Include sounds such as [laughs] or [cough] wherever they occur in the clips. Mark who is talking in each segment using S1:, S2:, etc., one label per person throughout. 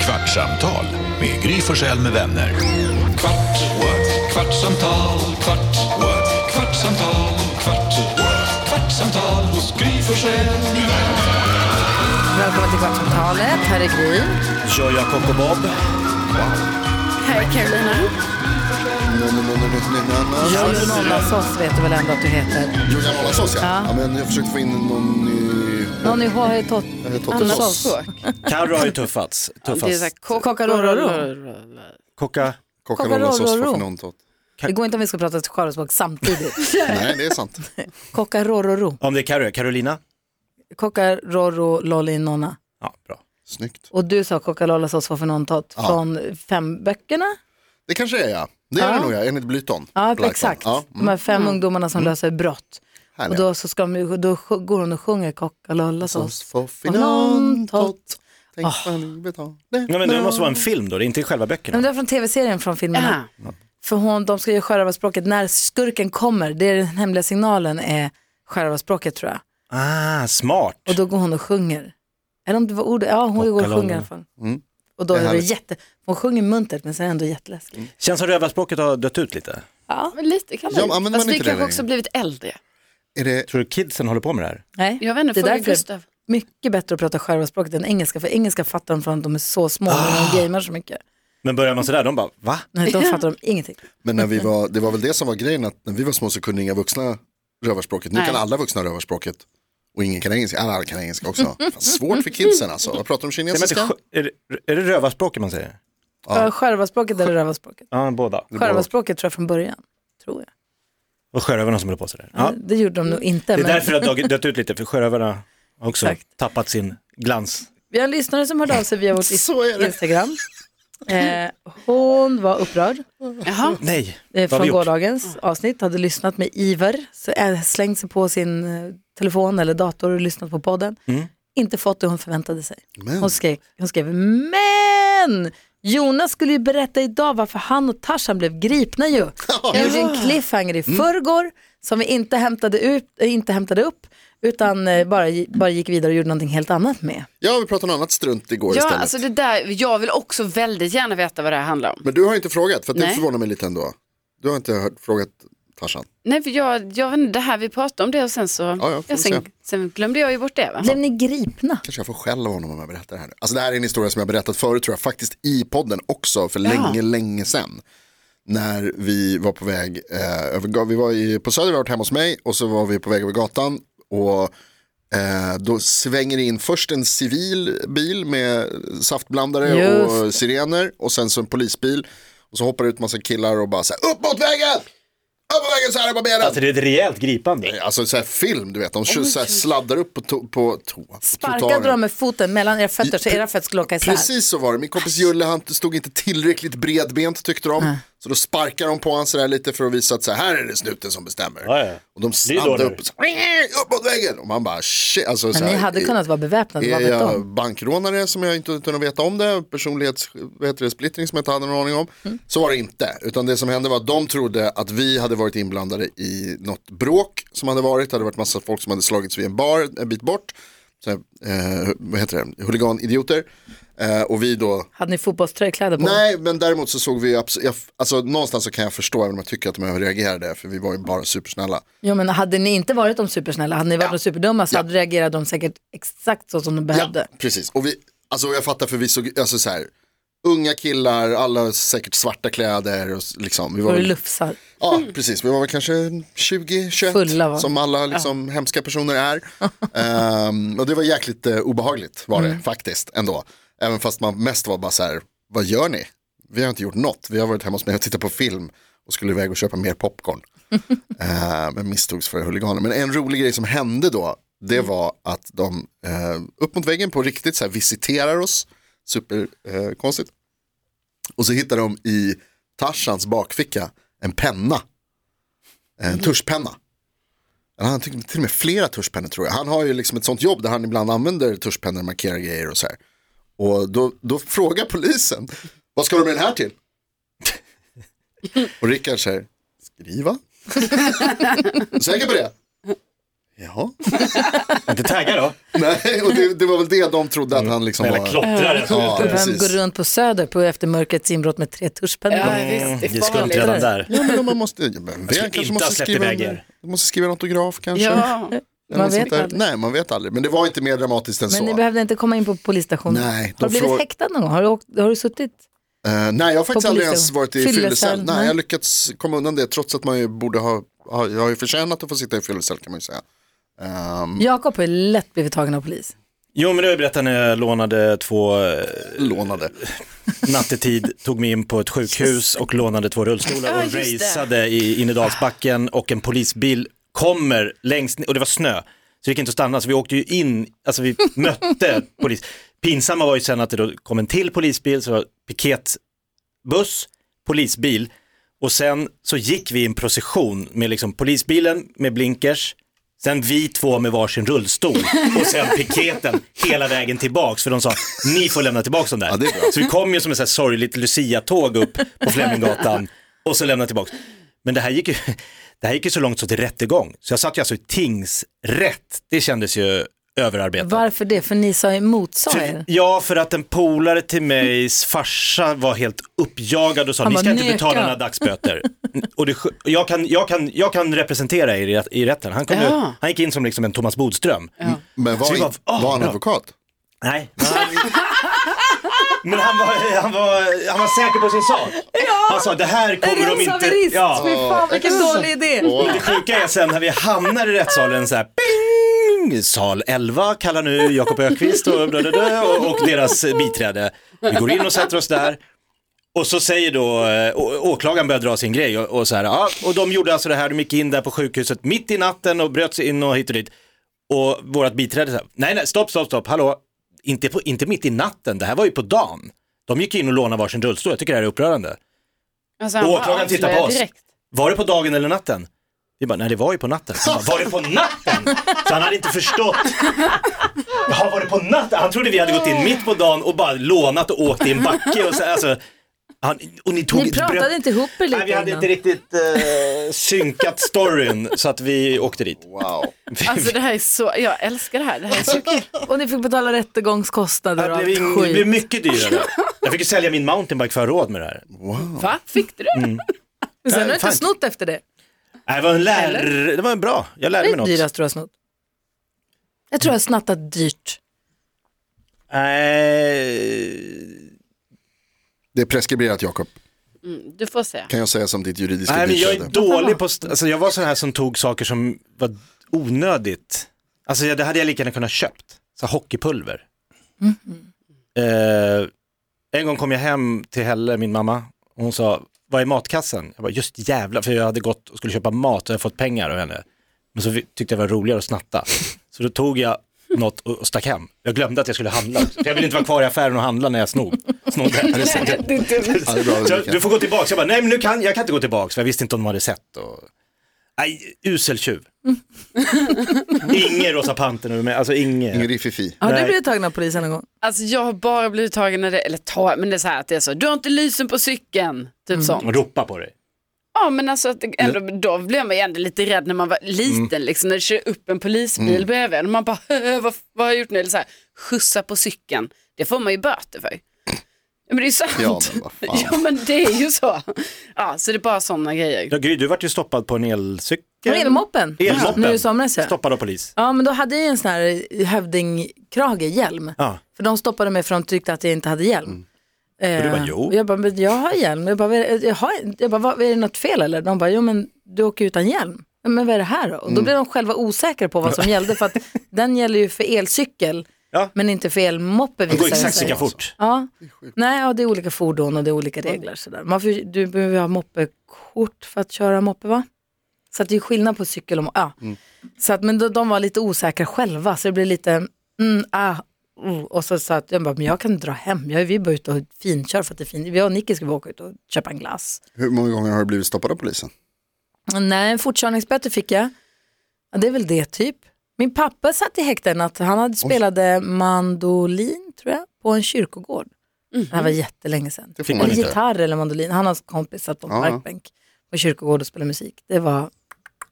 S1: Kvartsamtal med Gry Forssell med vänner.
S2: Kvart, what? kvartsamtal, kvart, what? kvartsamtal, kvart, what? kvartsamtal hos Gry Forssell med vänner.
S3: Välkommen till Kvartsamtalet. Här är Gry.
S4: Kör jag Coco Bob?
S5: Här är Carolina.
S3: Jon Ollasås vet du väl ändå att du heter?
S6: Julian Olassås ja. ja. men jag försökte få in någon ny...
S3: Någon i H.H. Tott...
S6: Tottos.
S4: Carro har ju tuffats, tuffast.
S3: Kockarororo.
S4: Coca...
S6: Kockarollasås
S3: Kockarollo.
S6: för finantot.
S3: Det går inte om vi ska prata skaraspråk
S5: [laughs]
S3: samtidigt.
S6: Nej, det är sant.
S3: Kockarororo.
S4: Om det är Carro, Carolina?
S3: Kockarororo lollinonna.
S4: Ja, bra.
S6: Snyggt.
S3: Och du sa kockarollasås var för någon tott från fem böckerna.
S6: Det kanske är jag. Det är det nog jag, enligt Blyton.
S3: Ja,
S6: Blyton.
S3: exakt. Mm.
S6: Ja,
S3: De
S6: mm.
S3: här
S5: Mm.
S3: fem ungdomarna som löser brott. Och
S6: härliga.
S3: då, så ska de, ju- då sj- går hon och sjunger kockarollasås.
S6: Sås för
S3: Finantot.
S6: finantot. Tänk man betala.
S4: Nej, men det måste vara en film då, det är inte själva
S3: Nej, men
S4: böckerna.
S3: det var från tv-serien från filmen. För hon, de ska ju skärva språket när skurken kommer. Det är den hemliga signalen är skärva språket tror jag.
S4: Ah, smart.
S3: Och då går hon och sjunger. Eller om det var ordet, ja hon går och sjunger i alla fall.
S4: Mm.
S3: Och då
S6: Det är
S3: är det
S6: härligt.
S3: jätte, hon sjunger muntert men sen är det ändå jätteläskigt.
S4: Känns som rövarspråket har dött ut lite.
S5: Ja, men lite kan man.
S6: Ja, men använder
S5: Fast
S6: man
S5: vi
S6: inte det
S5: kanske
S6: längre?
S5: också blivit äldre.
S6: Är det,
S4: Tror du kidsen håller på med det här?
S3: Nej,
S5: Jag vet inte,
S3: det är
S5: fråga
S3: därför det är
S5: Gustav.
S3: mycket bättre att prata skärva språket än engelska. För engelska fattar de från att de är så små och
S4: Ah.
S3: de gamer så mycket.
S4: Men börjar man sådär, de bara va?
S3: Nej, de fattar de ingenting.
S6: men när vi var, det var väl det som var grejen, att när vi var små så kunde inga vuxna rövarspråket. Nu
S5: Nej.
S6: kan alla vuxna rövarspråket. Och ingen kan engelska, alla kan engelska också. Fan, svårt för kidsen alltså. Vad pratar de
S4: Säger man inte
S6: kinesiska?
S4: sjö- Är det, är det rövarspråket man säger? Ah.
S3: Ja. Skärva språket eller röva språket.
S4: Ja, båda.
S3: Skärva språket tror jag från början. Tror jag.
S4: Och sjörövarna som håller på sådär. Ja.
S3: Det gjorde de nog inte.
S4: Det är
S3: men-
S4: därför det har dag- dött ut lite, för sjörövarna har också
S3: Exakt.
S4: tappat sin glans.
S3: Vi har en lyssnare som hörde av sig via vårt
S6: Så är det.
S3: Instagram. Eh, hon var upprörd
S5: Jaha,
S4: Nej,
S3: eh,
S4: vad har vi
S3: från
S4: gjort?
S3: gårdagens avsnitt, hade lyssnat med iver, så eh, slängt sig på sin eh, telefon eller dator och lyssnat på podden. Inte fått det hon förväntade sig.
S6: Men.
S3: Hon, skrek, hon skrev men Jonas skulle ju berätta idag varför han och Tarzan blev gripna ju. Jag gjorde en cliffhanger i förrgår som vi inte hämtade, ut, eh, inte hämtade upp utan eh, bara, gi- bara gick vidare och gjorde någonting helt annat med.
S6: Ja, vi pratade om annat strunt igår
S5: ja,
S6: istället.
S5: alltså det där, jag vill också väldigt gärna veta vad det här handlar om.
S6: Men du har inte frågat, för att det
S5: Nej.
S6: förvånar mig lite ändå. Du har inte hört, frågat Tarzan.
S5: Nej, för jag, jag vet inte, det här vi pratade om det och sen så,
S6: ja, får vi
S5: sen,
S6: se.
S5: sen glömde jag ju bort det va?
S3: Blev ni gripna?
S6: Kanske jag får skäll av honom om jag berättar det här nu. Alltså det här är en historia som jag berättat förut tror jag, faktiskt i podden också för länge, länge sedan. När vi var på väg, eh, över, vi var i, på Söder, vi har varit hemma hos mig och så var vi på väg över gatan och eh, då svänger det in först en civil bil med saftblandare
S3: Just
S6: och sirener och sen så en polisbil. Och så hoppar det ut massa killar och bara så här, upp mot vägen! Upp mot vägen så här är barberen!
S4: Alltså det är ett rejält gripande.
S6: Alltså så här film, du vet,
S3: Oh
S6: de så här sladdar upp på, to- på toa.
S3: Sparkade de med foten mellan era fötter så
S6: I-
S3: era fötter skulle åka isär.
S6: Precis så var det, min kompis Julle han stod inte tillräckligt bredbent tyckte de. Så då sparkar de på honom sådär lite för att visa att så här, här är det snuten som bestämmer.
S4: Ja, ja.
S6: Och de
S4: Det är
S6: sladdar
S4: dåligt.
S6: upp, och så, upp mot väggen. Och man bara shit. Alltså, så
S3: Men
S6: här,
S3: ni hade
S6: är-
S3: kunnat vara beväpnade, vad
S6: Är
S3: vet
S6: jag
S3: de?
S6: bankrånare som jag inte utan att veta om det, personlighets, vad heter det, splittring som jag inte hade någon aning om. Så var det inte, utan det som hände var att de trodde att vi hade varit inblandade i något bråk som hade varit, det hade varit massa folk som hade slagits vid en bar en bit bort, så här, eh, vad heter det, huliganidioter. Eh, och vi då
S3: Hade ni fotbollströjkläder på?
S6: Nej, men däremot så såg vi ju, abs- jag, alltså någonstans så kan jag förstå, även om jag tycker att de reagerade, för vi var ju bara supersnälla.
S3: Jo men hade ni inte varit de supersnälla, hade ni varit de superdumma så hade reagerat de säkert exakt så som de behövde.
S6: Ja, precis. Och vi, alltså jag fattar för vi såg, alltså så här, unga killar, alla säkert svarta kläder och s- liksom. Vi var
S3: Var det
S6: väl,
S3: lufsar?
S6: ja, precis. Vi var väl kanske 20, 21,
S3: Mm. Fulla, va?
S6: som alla liksom hemska
S3: [laughs]
S6: personer är. Ehm, och det var jäkligt eh, obehagligt var
S3: Mm.
S6: det faktiskt ändå. Även fast man mest var bara så här, vad gör ni? Vi har inte gjort något, vi har varit hemma hos mig och tittat på film och skulle iväg och köpa
S3: [laughs]
S6: mer popcorn. Eh, men misstogs för huliganer. Men en rolig grej som hände då, det
S3: Mm.
S6: var att de eh, upp mot väggen på riktigt så här visiterar oss, superkonstigt. Eh, konstigt. och så hittar de i Tarzans bakficka en penna, en tuschpenna. Eller Han tyckte till och med flera tuschpennor tror jag. Han har ju liksom ett sånt jobb där han ibland använder tuschpennor och markerar grejer och så här. Och då, då frågar polisen, vad ska du med den här till? och Rickard säger, skriva. Säker på det? Jaha.
S4: Inte tagga då.
S6: Nej, och det, det var väl det de trodde att han liksom
S4: Eller
S6: var.
S4: klottrare. som
S6: Ja,
S4: heter.
S3: Vem går
S6: precis.
S3: runt på Söder på efter mörkrets inbrott med tre tuschpennor?
S5: Ja, visst, det är
S4: Vi skulle
S5: farligt.
S4: inte redan där.
S6: Ja, men om man måste, ja, men det
S4: skulle
S6: kanske
S4: Alltså, inte
S6: måste
S4: ha släppt
S6: skriva
S4: iväg
S6: en,
S4: er.
S6: du måste skriva en autograf kanske.
S5: Ja,
S6: Eller
S3: man
S6: något sånt
S3: vet
S6: där.
S3: aldrig.
S6: Nej, man vet aldrig. Men det var inte mer dramatiskt än
S3: Men
S6: så.
S3: ni behövde inte komma in på polisstationen?
S6: Nej, de
S3: har du blivit
S6: frågar-
S3: häktad någon gång? Har du, åkt, har du suttit?
S6: Eh, nej, jag har faktiskt
S3: På
S6: aldrig ens
S3: polisen.
S6: varit i
S3: Fyllecell,
S6: fyllecell. Nej,
S3: nej.
S6: jag har lyckats komma undan det trots att man ju borde ha, ha jag har ju förtjänat att få sitta i fyllecell kan man ju säga. Ehm,
S3: Jakob har ju lätt blivit tagen av polis.
S4: Jo, men det har jag berättat när jag lånade två eh,
S6: Lånade.
S4: nattetid, tog mig in på ett sjukhus och lånade två rullstolar
S5: Ja,
S4: och
S5: just det. Ah.
S4: raceade i Innedalsbacken och en polisbil kommer längst ner, och det var snö, så det gick inte att stanna, så vi åkte ju in, alltså
S5: [laughs]
S4: vi mötte polis. Pinsamma var ju sen att det då kom en till polisbil, så det var piketbuss, polisbil, och sen så gick vi i en procession med liksom polisbilen med blinkers, Sen vi två med varsin rullstol och sen
S5: [laughs]
S4: piketen hela vägen tillbaks för de sa ni får lämna tillbaks dem där.
S6: Ja, det är bra.
S4: så vi kom ju som ett så här sorgligt Lucia-tåg upp på Fleminggatan och så lämnade tillbaks. Men det här gick ju, det här gick ju så långt så till rättegång. Så jag satt ju alltså i tingsrätt. Det kändes ju överarbetat.
S3: Varför det? För ni sa emot, sa
S4: Ty-
S3: er.
S4: Ja, för att en polare till mig's farsa var helt uppjagad och sa
S3: Han
S4: ni
S3: bara,
S4: ska inte
S3: "Neka."
S4: betala några dagsböter. och det, sj- jag, kan, jag, kan, jag kan representera er i, rätt- i rätten. Han, kunde,
S5: Ja.
S4: han gick in som liksom en Thomas Bodström.
S6: Men var,
S4: Så vi bara,
S6: inte-
S4: "Ah,
S6: var han
S4: bra."
S6: advokat?
S4: Nej. Men han, men han, var, han, var, han var säker på sin sak. Han sa det här kommer de inte...
S3: Rättshaverist! Fy
S4: Ja.
S3: fan vilken
S6: exakt.
S3: dålig idé.
S6: Åh,
S4: Det sjuka är sen när vi hamnar i rättssalen så här ping! Sal 11 kallar nu Jakob Ökvist och, dö, dö, dö, och, och deras biträde. Vi går in och sätter oss där. Och så säger då, eh, å- åklagaren börjar dra sin grej och, och så här, ja, och de gjorde alltså det här, de gick in där på sjukhuset mitt i natten och bröt sig in och hit och dit. Och vårt biträde sa, nej nej, stopp, stopp, stopp, hallå, inte, på, inte mitt i natten, det här var ju på dagen. De gick in och lånade varsin rullstol, jag tycker det här är upprörande.
S5: Alltså, han bara
S4: Åklagaren tittar på
S5: avslöjar
S4: oss.
S5: direkt.
S4: Var det på dagen eller natten? Vi bara, nej det var ju på natten. Han bara, var det på natten? Så han hade inte förstått. [laughs] Jaha, var det på natten? Han trodde vi hade gått in mitt på dagen och bara lånat och åkt i en backe. Och, så, alltså, han, och ni tog
S3: Ni pratade inte ihop er lite
S4: Nej, vi hade
S3: innan.
S4: inte riktigt eh, synkat storyn så att vi åkte dit.
S6: Wow.
S5: Alltså det här är så, jag älskar det här. Det här
S6: [laughs]
S5: är så kul.
S3: Och ni fick betala rättegångskostnader
S4: Det
S3: och allt
S4: blev, ing- det blev
S3: skit.
S4: mycket dyrare. Jag fick ju sälja min mountainbike för att ha råd med det här.
S5: Va? Fick du det?
S6: Mm.
S3: Men sen har du
S4: Nej,
S3: inte
S4: fan.
S3: snott efter det.
S4: Nej, det, var en lär... det var en bra, jag
S3: Det
S4: lärde mig
S3: är
S4: något.
S3: dyrast tror jag har snott. Jag tror jag har snattat dyrt.
S4: Nej,
S6: Det är preskriberat Jakob,
S5: Mm, Du får se.
S6: kan jag säga som ditt juridiska
S4: Nej, men jag är
S6: biträde.
S4: dålig på, st- alltså jag var sån här som tog saker som var onödigt. Alltså jag- det hade jag lika gärna kunnat köpt, så här hockeypulver. Eh, en gång kom jag hem till Helle, min mamma, och hon sa, vad är matkassen? Jag bara, just jävla för jag hade gått och skulle köpa mat och jag hade fått pengar av henne. Men så vi- tyckte jag det var roligare att snatta. Så då tog jag något och och stack hem. Jag glömde att jag skulle handla. också. För jag ville inte vara kvar i affären och handla när jag snog. snodde.
S6: Ja, det är bra,
S4: Så
S6: Ulrika.
S4: jag, du får gå tillbaka. Jag bara, nej men nu kan, jag kan inte gå tillbaka för jag visste inte om de hade sett. Och... Nej, usel tjuv. Inge Rosa Pantern, men alltså Inge.
S6: Ingrid Fifi.
S3: Har du
S4: Nej.
S3: blivit tagen av polisen någon gång?
S5: Alltså jag har bara blivit tagen när det, eller ta, men det är så här att det är så, du har inte lysen på cykeln, typ
S6: Mm.
S5: sånt.
S4: De ropar på dig.
S5: Ja men alltså att det, ändå, då blev man ju ändå lite rädd när man var liten liksom, när det kör upp en polisbil bredvid en och man bara, "Hö, vad, vad har jag gjort nu? Eller så här, skjutsa på cykeln, det får man ju böter för. Ja, Men det är ju sant.
S6: Ja, men vad fan.
S5: [laughs] Ja, men det är ju så. Ja, så det är bara sådana grejer.
S4: Ja, Gry, du vart ju stoppad på en elcykel.
S3: Var det Elmoppen?
S4: Elmoppen.
S3: Nu i somras ja.
S4: Stoppad av polis.
S3: Ja men då hade jag ju en sån här hövdingkrage-hjälm.
S4: Ja.
S3: För de stoppade mig för de tyckte att jag inte hade hjälm. Eh,
S4: Mm. Och du bara, jo.
S3: och jag bara, men jag har hjälm. Jag bara, vad är det, jag har, jag bara vad, är det något fel eller? De bara, jo men du åker utan hjälm. Ja, Men vad är det här då? Och
S4: Mm.
S3: då blev de själva osäkra på vad
S4: [laughs]
S3: som gällde för att den gäller ju för elcykel
S4: Ja.
S3: men inte för elmoppe
S4: Det går
S3: visar det
S4: exakt
S3: sig.
S4: lika fort.
S3: Ja. Nej, ja, det är olika fordon och det är olika regler. Sådär. Man får, ju- du behöver ju ha moppekort för att köra moppe va? Så att det är skillnad på cykel och mo- ja. så att, Men då, de var lite osäkra själva så det blev lite, mm, ah, oh. och så sa att jag bara, men jag kan dra hem, jag, vi bara ute och finkör för att det är fint. Jag och Nicky skulle bara åka ut och köpa en glass.
S6: Hur många gånger har du blivit stoppad av polisen?
S3: Nej, en fortkörningsböter fick jag. Ja, det är väl det typ. Min pappa satt i häkte en natt. Han hade spelade mandolin, tror jag, på en kyrkogård. Det här var jättelänge sedan.
S6: Det får man
S3: en
S6: inte.
S3: gitarr eller mandolin. Han och hans kompis satt på en
S6: Ja.
S3: parkbänk på en kyrkogård och spelade musik. Det var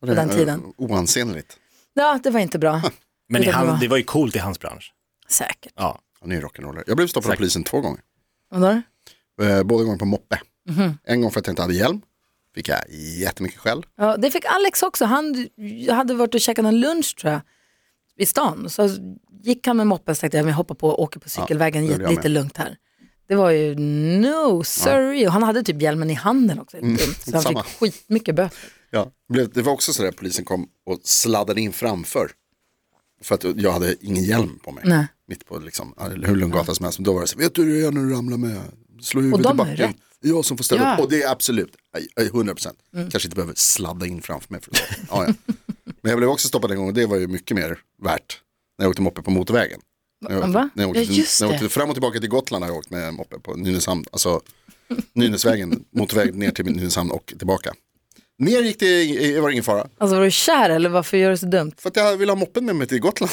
S3: på den tiden.
S6: Eh, Oansenligt.
S3: Ja, det var inte
S6: [laughs]
S3: bra.
S4: Men i
S3: Det var-
S4: han, det var ju coolt i hans bransch.
S3: Säkert.
S4: Ja.
S6: Han är ju rock'n'roller. Jag blev stoppad av
S4: Säkert.
S6: polisen två gånger.
S3: Vadå?
S6: Eh, båda gånger på moppe.
S3: Mhm.
S6: En gång för att jag inte hade hjälm. Fick jag jättemycket skäll.
S3: Ja, det fick Alex också. Han hade varit och käkat någon lunch tror jag, i stan. Så gick han med moppen och tänkte jag men jag hoppar på och åker på cykelvägen
S6: det gjorde jag
S3: lite
S6: med.
S3: lugnt här. Det var ju no sorry. Och han hade typ hjälmen i handen också. Mm, så han
S6: samma.
S3: fick skitmycket böter.
S6: Ja. Blev, det var också sådär polisen kom och sladdade in framför. För att jag hade ingen hjälm på mig.
S3: Nej.
S6: Mitt på liksom, eller hur lugn gata som helst. Men då var det så här, vet du hur det är när du ramlar med? Slå
S3: Och
S6: huvudet
S3: de
S6: i
S3: har ju
S6: backen.
S3: rätt.
S6: Det är jag som får ställa
S5: Ja.
S6: upp. Och det är absolut, aj, aj, 100 procent.
S3: Mm.
S6: Kanske inte behöver sladda in framför mig. För att, ja, ja. Men jag blev också stoppad en gång och det var ju mycket mer värt. När jag åkte moppe på motorvägen. När jag åkte,
S3: Va?
S6: När jag åkte,
S5: Ja,
S6: till-
S5: just
S6: när jag
S5: det.
S6: åkte fram och tillbaka till Gotland har jag åkt med moppe på Nynäshamn. Alltså Nynäsvägen, [laughs] motorvägen ner till Nynäshamn och tillbaka. Ner gick det, i- var det ingen fara.
S3: Alltså var du kär eller varför gör du så dumt?
S6: För att jag ville ha moppen med mig till
S5: [laughs]
S6: Gotland.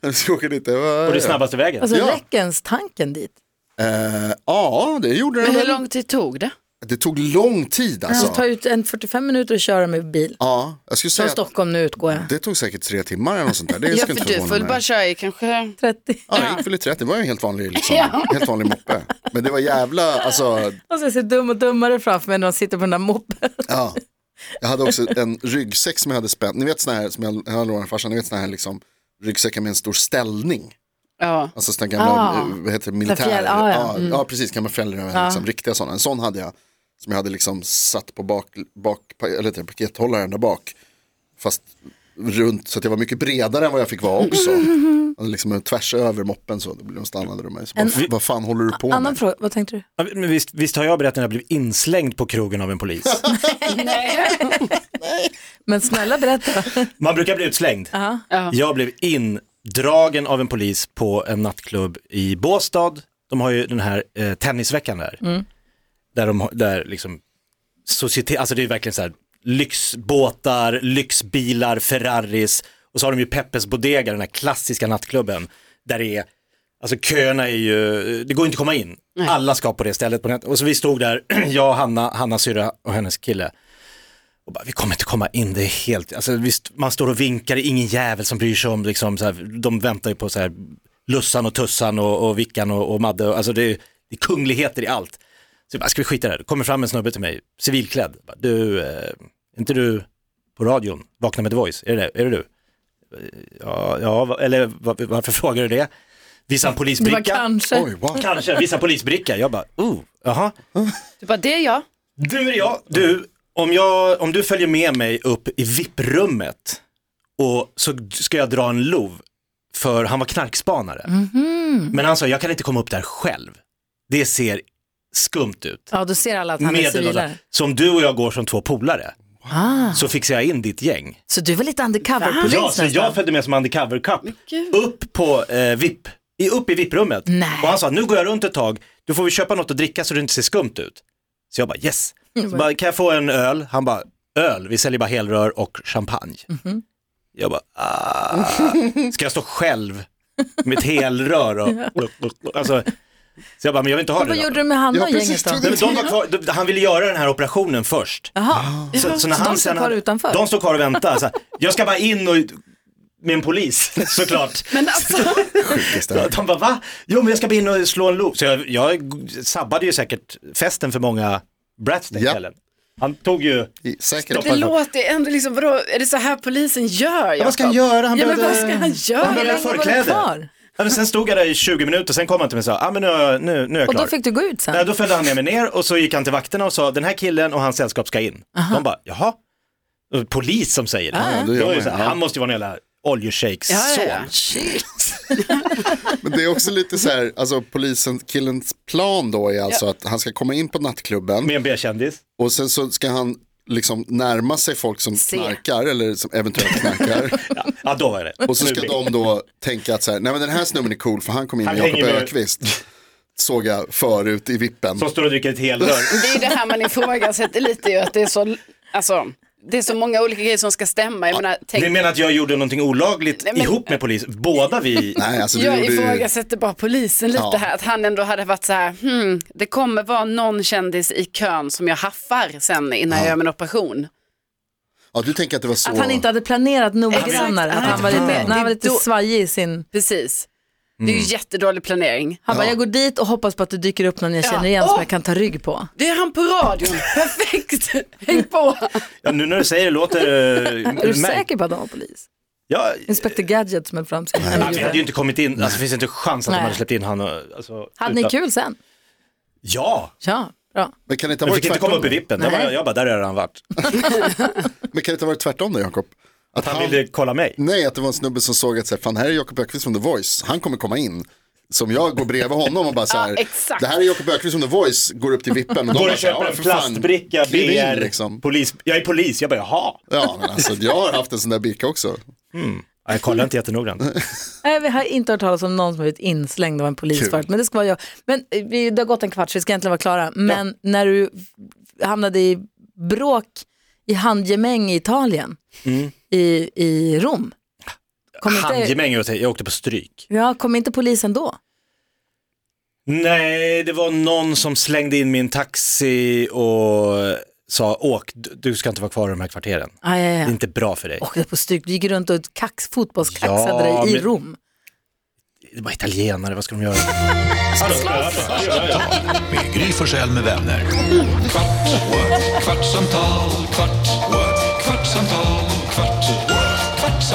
S6: jag ska åka dit. Det var,
S4: Och det är snabbaste vägen.
S3: Alltså
S6: Ja.
S3: räckens tanken dit.
S6: Eh, ja, det gjorde den.
S5: Men hur
S6: väl.
S5: lång tid tog det?
S6: Det tog lång tid
S3: Alltså,
S6: alltså.
S3: ta ut en 45 minuter och köra med bil.
S6: Ja, jag skulle
S3: Från
S6: säga att
S3: Stockholm nu utgår jag.
S6: det tog säkert tre timmar eller något sånt där. Det
S5: [laughs] Ja,
S6: skulle
S5: för
S6: inte
S5: du
S6: förvåna
S5: får väl
S6: mig.
S5: bara köra i kanske
S3: 30.
S6: Ja, jag gick väl i 30, det var ju en helt vanlig, liksom,
S5: [laughs] Ja.
S6: helt vanlig moppe. Men det var jävla, alltså,
S3: Alltså jag ser dum och dummare framför mig när de sitter på den där moppen.
S6: ja. Jag hade också en ryggsäck som jag hade spänt, ni vet såna här, som jag, jag lånade av farsan, ni vet såna här liksom, ryggsäckar med en stor ställning.
S5: Ja.
S6: Alltså sådana gamla,
S3: Ah.
S6: eh, vad heter det, militär.
S3: Fjäll- ah, ja. Mm. Ah.
S6: ja precis, gamla fjällräven, liksom, riktiga sådana. En sån hade jag, som jag hade liksom satt på bak, bak eller heter det, pakethållaren där bak. Fast runt, så att jag var mycket bredare än vad jag fick
S3: [laughs]
S6: vara också. Och liksom tvärs över moppen så, då blev de stannade de mig. Så, bara, Vad fan håller du på
S3: Annan
S6: med?
S3: fråga, vad tänkte du?
S4: Ja, Men visst, visst har jag berättat när jag blev inslängd på krogen av en polis?
S3: Men snälla berätta.
S4: Man brukar bli utslängd.
S5: Ja.
S4: Jag blev indragen av en polis på en nattklubb i Båstad. De har ju den här eh, tennisveckan där. Där, de, har- där liksom, societe- alltså det är verkligen så här, lyxbåtar, lyxbilar, Ferraris. Och så har de ju Peppes Bodega, den här klassiska nattklubben. Där det är, alltså köerna är ju, det går inte att komma in. Alla ska på det stället. På natt- och så vi stod där, [clears throat] jag, Hanna, Hannas syrra och hennes kille. Och bara, vi kommer inte komma in, det är helt, alltså, visst, man står och vinkar, det är ingen jävel som bryr sig om, liksom, så här, de väntar ju på så här, Lussan och Tussan och, och Vickan och, och Madde, och, alltså det är, det är kungligheter i allt. Så jag bara, ska vi skita i det här? Det kommer fram en snubbe till mig, civilklädd, Jag bara, du, eh, är inte du på radion, Vakna med The Voice, är det, det? Är det du? Eh, Ja, ja va- eller va- varför frågar du det? Visa en
S3: Det var
S4: polisbricka.
S3: kanske.
S6: Oj, wow.
S4: Kanske, visa polisbricka. Jag bara, oh, jaha.
S5: Du bara, det är jag.
S4: Du är jag. Du, om, jag, om du följer med mig upp i VIP-rummet och så ska jag dra en lov för han var knarkspanare.
S3: Mhm.
S4: Men han sa, jag kan inte komma upp där själv. Det ser skumt ut.
S3: Ja, då ser alla att han är
S4: Medelålders.
S3: civilare.
S4: Så om du och jag går som två polare
S3: Ah,
S4: så fixar jag in ditt gäng.
S3: så du var lite undercover-polis
S4: Ja, så
S3: nästan?
S4: jag följde med som undercover cup upp på eh, VIP, i, upp i VIP-rummet.
S3: Nej.
S4: Och han sa, nu går jag runt ett tag, du får vi köpa något att dricka så det inte ser skumt ut. Så jag bara yes.
S3: Mm.
S4: Så bara, kan jag få en öl? Han bara, öl, vi säljer bara helrör och champagne.
S3: Mhm.
S4: Jag bara, ah. ska jag stå själv med ett helrör?
S3: [laughs]
S4: Och, alltså, så jag bara, men jag vill inte ha det.
S3: Vad
S4: där."
S3: gjorde du med Hanna
S6: Ja,
S3: och
S6: precis,
S3: gänget då?
S6: trodde-
S4: Nej, men de var kvar, de, han ville göra den här operationen först.
S3: Jaha,
S4: Så, så när
S3: Så
S4: han
S3: de står
S4: sen-
S3: kvar utanför?
S4: De står kvar och väntar. Så här, jag ska bara in och med en polis [laughs] såklart.
S5: Men alltså,
S6: Sjukaste.
S4: De bara va? Jo men jag ska bara in och slå en loop. Så jag, jag sabbade ju säkert festen för många brats den
S6: Ja.
S4: kvällen. Han tog ju,
S6: I- Säkert.
S4: Stoppa.
S5: det låter ändå liksom, vadå, är det så här polisen gör?
S4: vad ska han
S5: Jakob?
S4: göra? Han
S5: ja, men
S4: behövde-
S5: vad ska han
S4: han
S5: göra?
S4: behövde-
S3: Hur länge var du
S4: förkläde.
S3: kvar?
S4: Ja, men sen stod jag där i 20 minuter, sen kom han till mig och sa, ah, men nu, är jag- nu, nu är jag
S3: Och
S4: klar.
S3: då fick du gå ut
S4: Nej,
S3: sen?
S4: då följde han med mig ner och så gick han till vakterna och sa, den här killen och hans sällskap ska in. De bara, jaha? Och Polis som säger det.
S6: Ja,
S4: Då
S6: då
S4: är
S6: gör
S4: det
S6: man
S4: så här,
S6: det. Ja.
S4: Han måste ju vara en jävla oljeshejks
S5: Ja, ja,
S4: son.
S5: ja.
S6: Men det är också lite så här, alltså polisen, killens plan då är alltså att han ska komma in på nattklubben.
S4: Med en B-kändis.
S6: Och sen så ska han liksom närma sig folk som
S3: Se.
S6: knarkar eller som eventuellt
S4: [laughs]
S6: knarkar.
S4: Ja, då var det.
S6: Och så
S4: Nu
S6: ska
S4: blir-
S6: de då tänka att så här, nej men den här snubben är cool för han kom in
S4: Han
S6: med Jakob
S4: hänger med-
S6: Ökvist Såg jag förut i vippen.
S4: Som står och dricker ett helrör.
S5: Det är ju det här man liksom ifrågasätter lite ju, att det är så, alltså, det är så många olika grejer som ska stämma. Jag menar, tänk,
S4: Ni menar att jag gjorde någonting olagligt
S5: Nej, men-
S4: ihop med polis? Båda vi?
S6: Nej, alltså du
S5: jag
S6: gjorde ju...
S5: ifrågasätter bara polisen lite
S6: Ja.
S5: här, att han ändå hade varit så här, hmm, det kommer vara någon kändis i kön som jag haffar sen innan jag gör min operation.
S6: Ja, du tänker att det var så.
S3: Att han inte hade planerat noggrannare,
S5: Exakt,
S3: att
S5: han
S3: han var lite,
S5: hade inte
S3: när han var
S5: planerat.
S3: lite
S5: Det är då-
S3: svajig i sin...
S5: Precis. Det
S4: Mm.
S5: är ju jättedålig planering.
S3: Han bara, jag går dit och hoppas på att det dyker upp någon jag känner igen som
S5: Åh!
S3: jag kan ta rygg på.
S5: Det är han
S4: [laughs]
S5: på radion. Perfekt. Häng på.
S4: Ja, nu när du säger det låter... eh,
S3: Är du
S4: märk-
S3: säker på att han var polis?
S4: Ja,
S3: Inspector Gadget som är
S4: nej, vi hade ju
S3: framskriven.
S4: inte kommit in, alltså det finns inte en chans att
S3: Nej.
S4: de hade släppt in han. och- Alltså,
S3: Hade ni
S4: utan-
S3: kul sen?
S4: Ja,
S3: Ja, bra.
S6: Men kan det inte ha
S4: de
S6: varit
S4: fick inte komma
S6: tvärtom?
S4: upp i vippen. Där var
S3: Nej.
S4: jag, jag bara, där har han varit.
S6: Men kan det inte ha varit tvärtom då, Jakob? Att
S4: Han ville kolla mig.
S6: Nej, att det var en snubbe som såg att så här, fan här är Jakob Ökvist från The Voice, han kommer komma in. Som jag går bredvid honom och bara så här,
S5: Ja, exakt.
S6: det här är Jakob Ökvist från The Voice, går upp till vippen. Och de
S4: Går
S6: bara
S4: och
S6: så här,
S4: köper
S6: ja,
S4: en
S6: för fan,
S4: plastbricka,
S6: kliv in,
S4: BR,
S6: liksom.
S4: polis. Jag är polis, jag bara jaha.
S6: Ja, men alltså jag har haft en sån där bika också.
S4: Ja, jag kollar inte [laughs] jättenoggrant.
S3: Nej, vi har inte hört talas om någon som har blivit inslängd av en polis
S6: Kul.
S3: förut, men det ska vara jag. Men eh, vi, det har gått en kvart så vi ska egentligen vara klara. Men när du hamnade i bråk i handgemäng i Italien, i, i Rom, kom inte,
S4: Mm. Handgemäng, jag åkte på stryk.
S3: ja, kom inte polisen då?
S4: Nej, det var någon som slängde in min taxi och sa åk, du- du ska inte vara kvar i de här kvarteren.
S3: Aj, aj,
S4: Det är
S3: aj.
S4: inte bra för dig.
S3: Åkte på stryk, du gick runt och kax, fotbollskaxade
S4: Ja,
S3: dig i
S4: men-
S3: Rom.
S4: Det var italienare, vad ska de göra?
S1: Med Gry Forssell med vänner.
S2: Kvart, what? kvartsamtal, kvart, what? kvartsamtal, kvart, what?